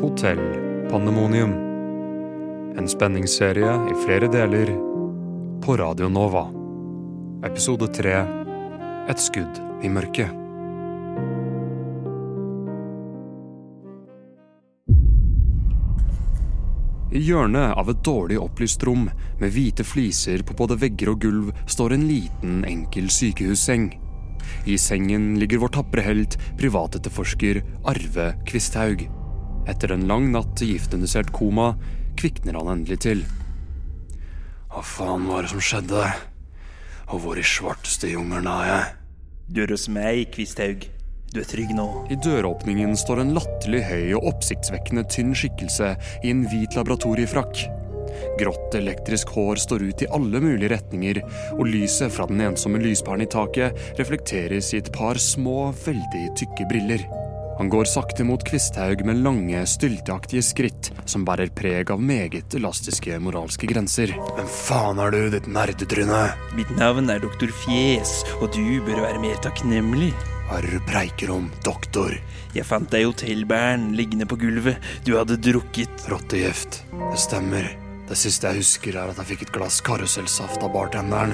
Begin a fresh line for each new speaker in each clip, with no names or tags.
Hotell Pandemonium. En spenningsserie i flere deler på Radio Nova. Episode tre Et skudd i mørket. I hjørnet av et dårlig opplyst rom med hvite fliser på både vegger og gulv står en liten, enkel sykehusseng. I sengen ligger vår tapre helt, privatetterforsker Arve Kvisthaug. Etter en lang natt i giftindusert koma kvikner han endelig til. Hva faen var det som skjedde? Og hvor i svarteste jungelen er jeg?
Du er hos meg, Kvisthaug. Du er trygg nå.
I døråpningen står en latterlig høy og oppsiktsvekkende tynn skikkelse i en hvit laboratoriefrakk. Grått elektrisk hår står ut i alle mulige retninger, og lyset fra den ensomme lyspæren i taket reflekteres i et par små, veldig tykke briller. Han går sakte mot Kvisthaug med lange, stylteaktige skritt som bærer preg av meget elastiske moralske grenser. Hvem faen er du, ditt nerdetryne?
Mitt navn er Doktor Fjes, og du bør være mer takknemlig.
Hva er det du preiker om, doktor?
Jeg fant deg i hotellbæren liggende på gulvet. Du hadde drukket
Rottegift. Det stemmer. Det siste jeg husker, er at jeg fikk et glass karusellsaft av bartenderen.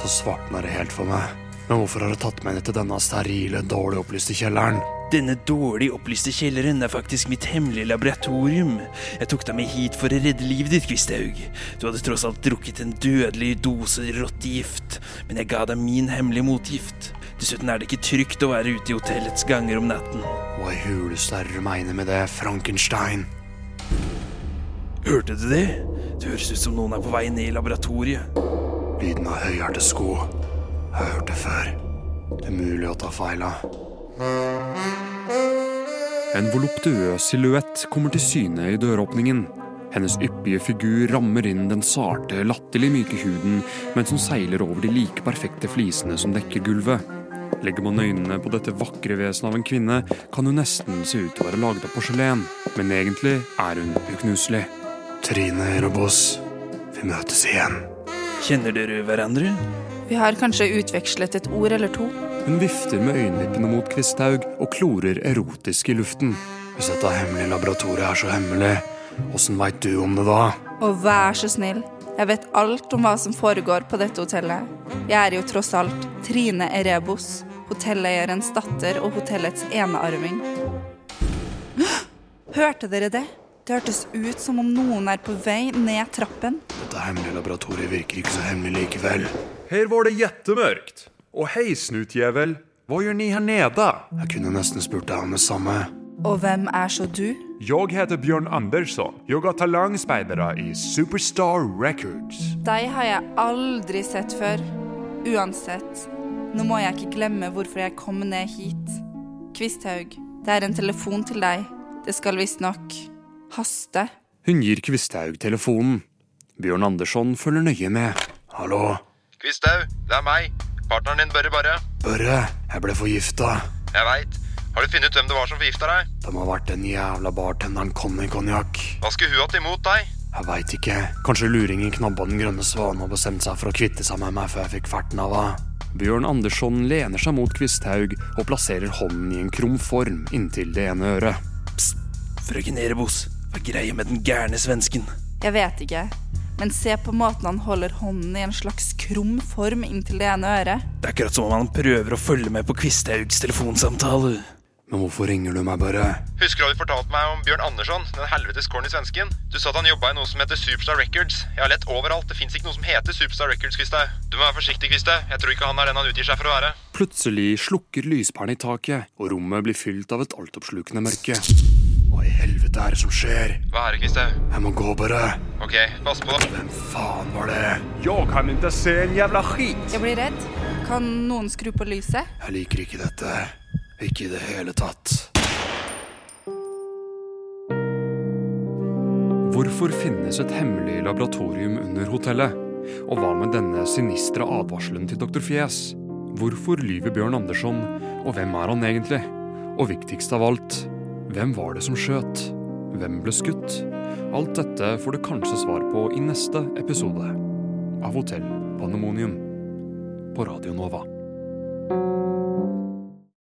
Så svartna det helt for meg. Men hvorfor har du tatt meg ned til denne sterile, dårlig opplyste kjelleren?
Denne dårlig opplyste kjelleren er faktisk mitt hemmelige laboratorium. Jeg tok deg med hit for å redde livet ditt, Kvisthaug. Du hadde tross alt drukket en dødelig dose rottegift, men jeg ga deg min hemmelige motgift. Dessuten er det ikke trygt å være ute i hotellets ganger om natten.
Hva i huleste er det du mener med det, Frankenstein?
Hørte du det? Det høres ut som noen er på vei ned i laboratoriet.
Lyden av høyhælte sko. Jeg har hørt det før. Umulig å ta feil av. En voluptuøs silhuett kommer til syne i døråpningen. Hennes yppige figur rammer inn den sarte, latterlig myke huden mens hun seiler over de like perfekte flisene som dekker gulvet. Legger man øynene på dette vakre vesenet av en kvinne, kan hun nesten se ut til å være laget av porselen, men egentlig er hun uknuselig. Trine Robos, vi møtes igjen.
Kjenner dere hverandre?
Vi har kanskje utvekslet et ord eller to.
Hun vifter med øyenvippene mot Kvisthaug og klorer erotisk i luften. Hvis dette hemmelige laboratoriet er så hemmelig, åssen veit du om det da?
Og vær så snill, jeg vet alt om hva som foregår på dette hotellet. Jeg er jo tross alt Trine Erebos, hotelleierens datter og hotellets enearving. Hørte dere det? Det hørtes ut som om noen er på vei ned trappen.
Dette hemmelige laboratoriet virker ikke så hemmelig likevel.
Her var det jättemörkt. Och hej snutjävel, vad gör ni här nede?
Jeg kunne nesten spurt deg om det samme.
Og hvem er så du?
Jag heter Björn Andersson. Jag är talangspelare i Superstar Records.
Deg har jeg aldri sett før. Uansett, nå må jeg ikke glemme hvorfor jeg kom ned hit. Kvisthaug, det er en telefon til deg. Det skal visstnok haste.
Hun gir Kvisthaug telefonen. Bjørn Andersson følger nøye med. Hallo,
Kvisthaug, det er meg. Partneren din Børre Barre.
Børre, jeg ble forgifta.
Jeg veit. Har du funnet ut hvem det var som forgifta deg?
Det må ha vært den jævla bartenderen Conny Konjakk.
Hva skulle hun hatt imot deg?
Jeg veit ikke. Kanskje luringen knabba den grønne svanen og bestemte seg for å kvitte seg med meg før jeg fikk ferten av henne. Bjørn Andersson lener seg mot Kvisthaug og plasserer hånden i en krum form inntil det ene øret.
Frøken Erebos, hva er greia med den gærne svensken?
Jeg vet ikke, men se på måten han holder hånden i en slags krum form inntil det ene øret.
Det er akkurat som om han prøver å følge med på Kvisthaugs telefonsamtale.
Men hvorfor ringer du meg, Børre?
Husker du at du fortalte meg om Bjørn Andersson, den helvetes corny svensken? Du sa at han jobba i noe som heter Superstar Records. Jeg har lett overalt, det fins ikke noe som heter Superstar Records, Kvisthaug. Du må være forsiktig, Kvisthaug. Jeg tror ikke han er den han utgir seg for å være.
Plutselig slukker lyspæren i taket, og rommet blir fylt av et altoppslukende mørke. Hva i helvete er det som skjer?
Hva er det, Kvisthaug?
Jeg må gå, Børre.
Ok, pass på.
Hvem faen var det?
Jag kan inte se en jävla skit.
Jeg blir redd. Kan noen skru på lyset?
Jeg liker ikke dette. Ikke i det hele tatt. Hvorfor finnes et hemmelig laboratorium under hotellet? Og hva med denne sinistre advarselen til dr. Fjes? Hvorfor lyver Bjørn Andersson, og hvem er han egentlig? Og viktigst av alt, hvem var det som skjøt? Hvem ble skutt? Alt dette får du kanskje svar på i neste episode av Hotell Pandemonium på Radio Nova.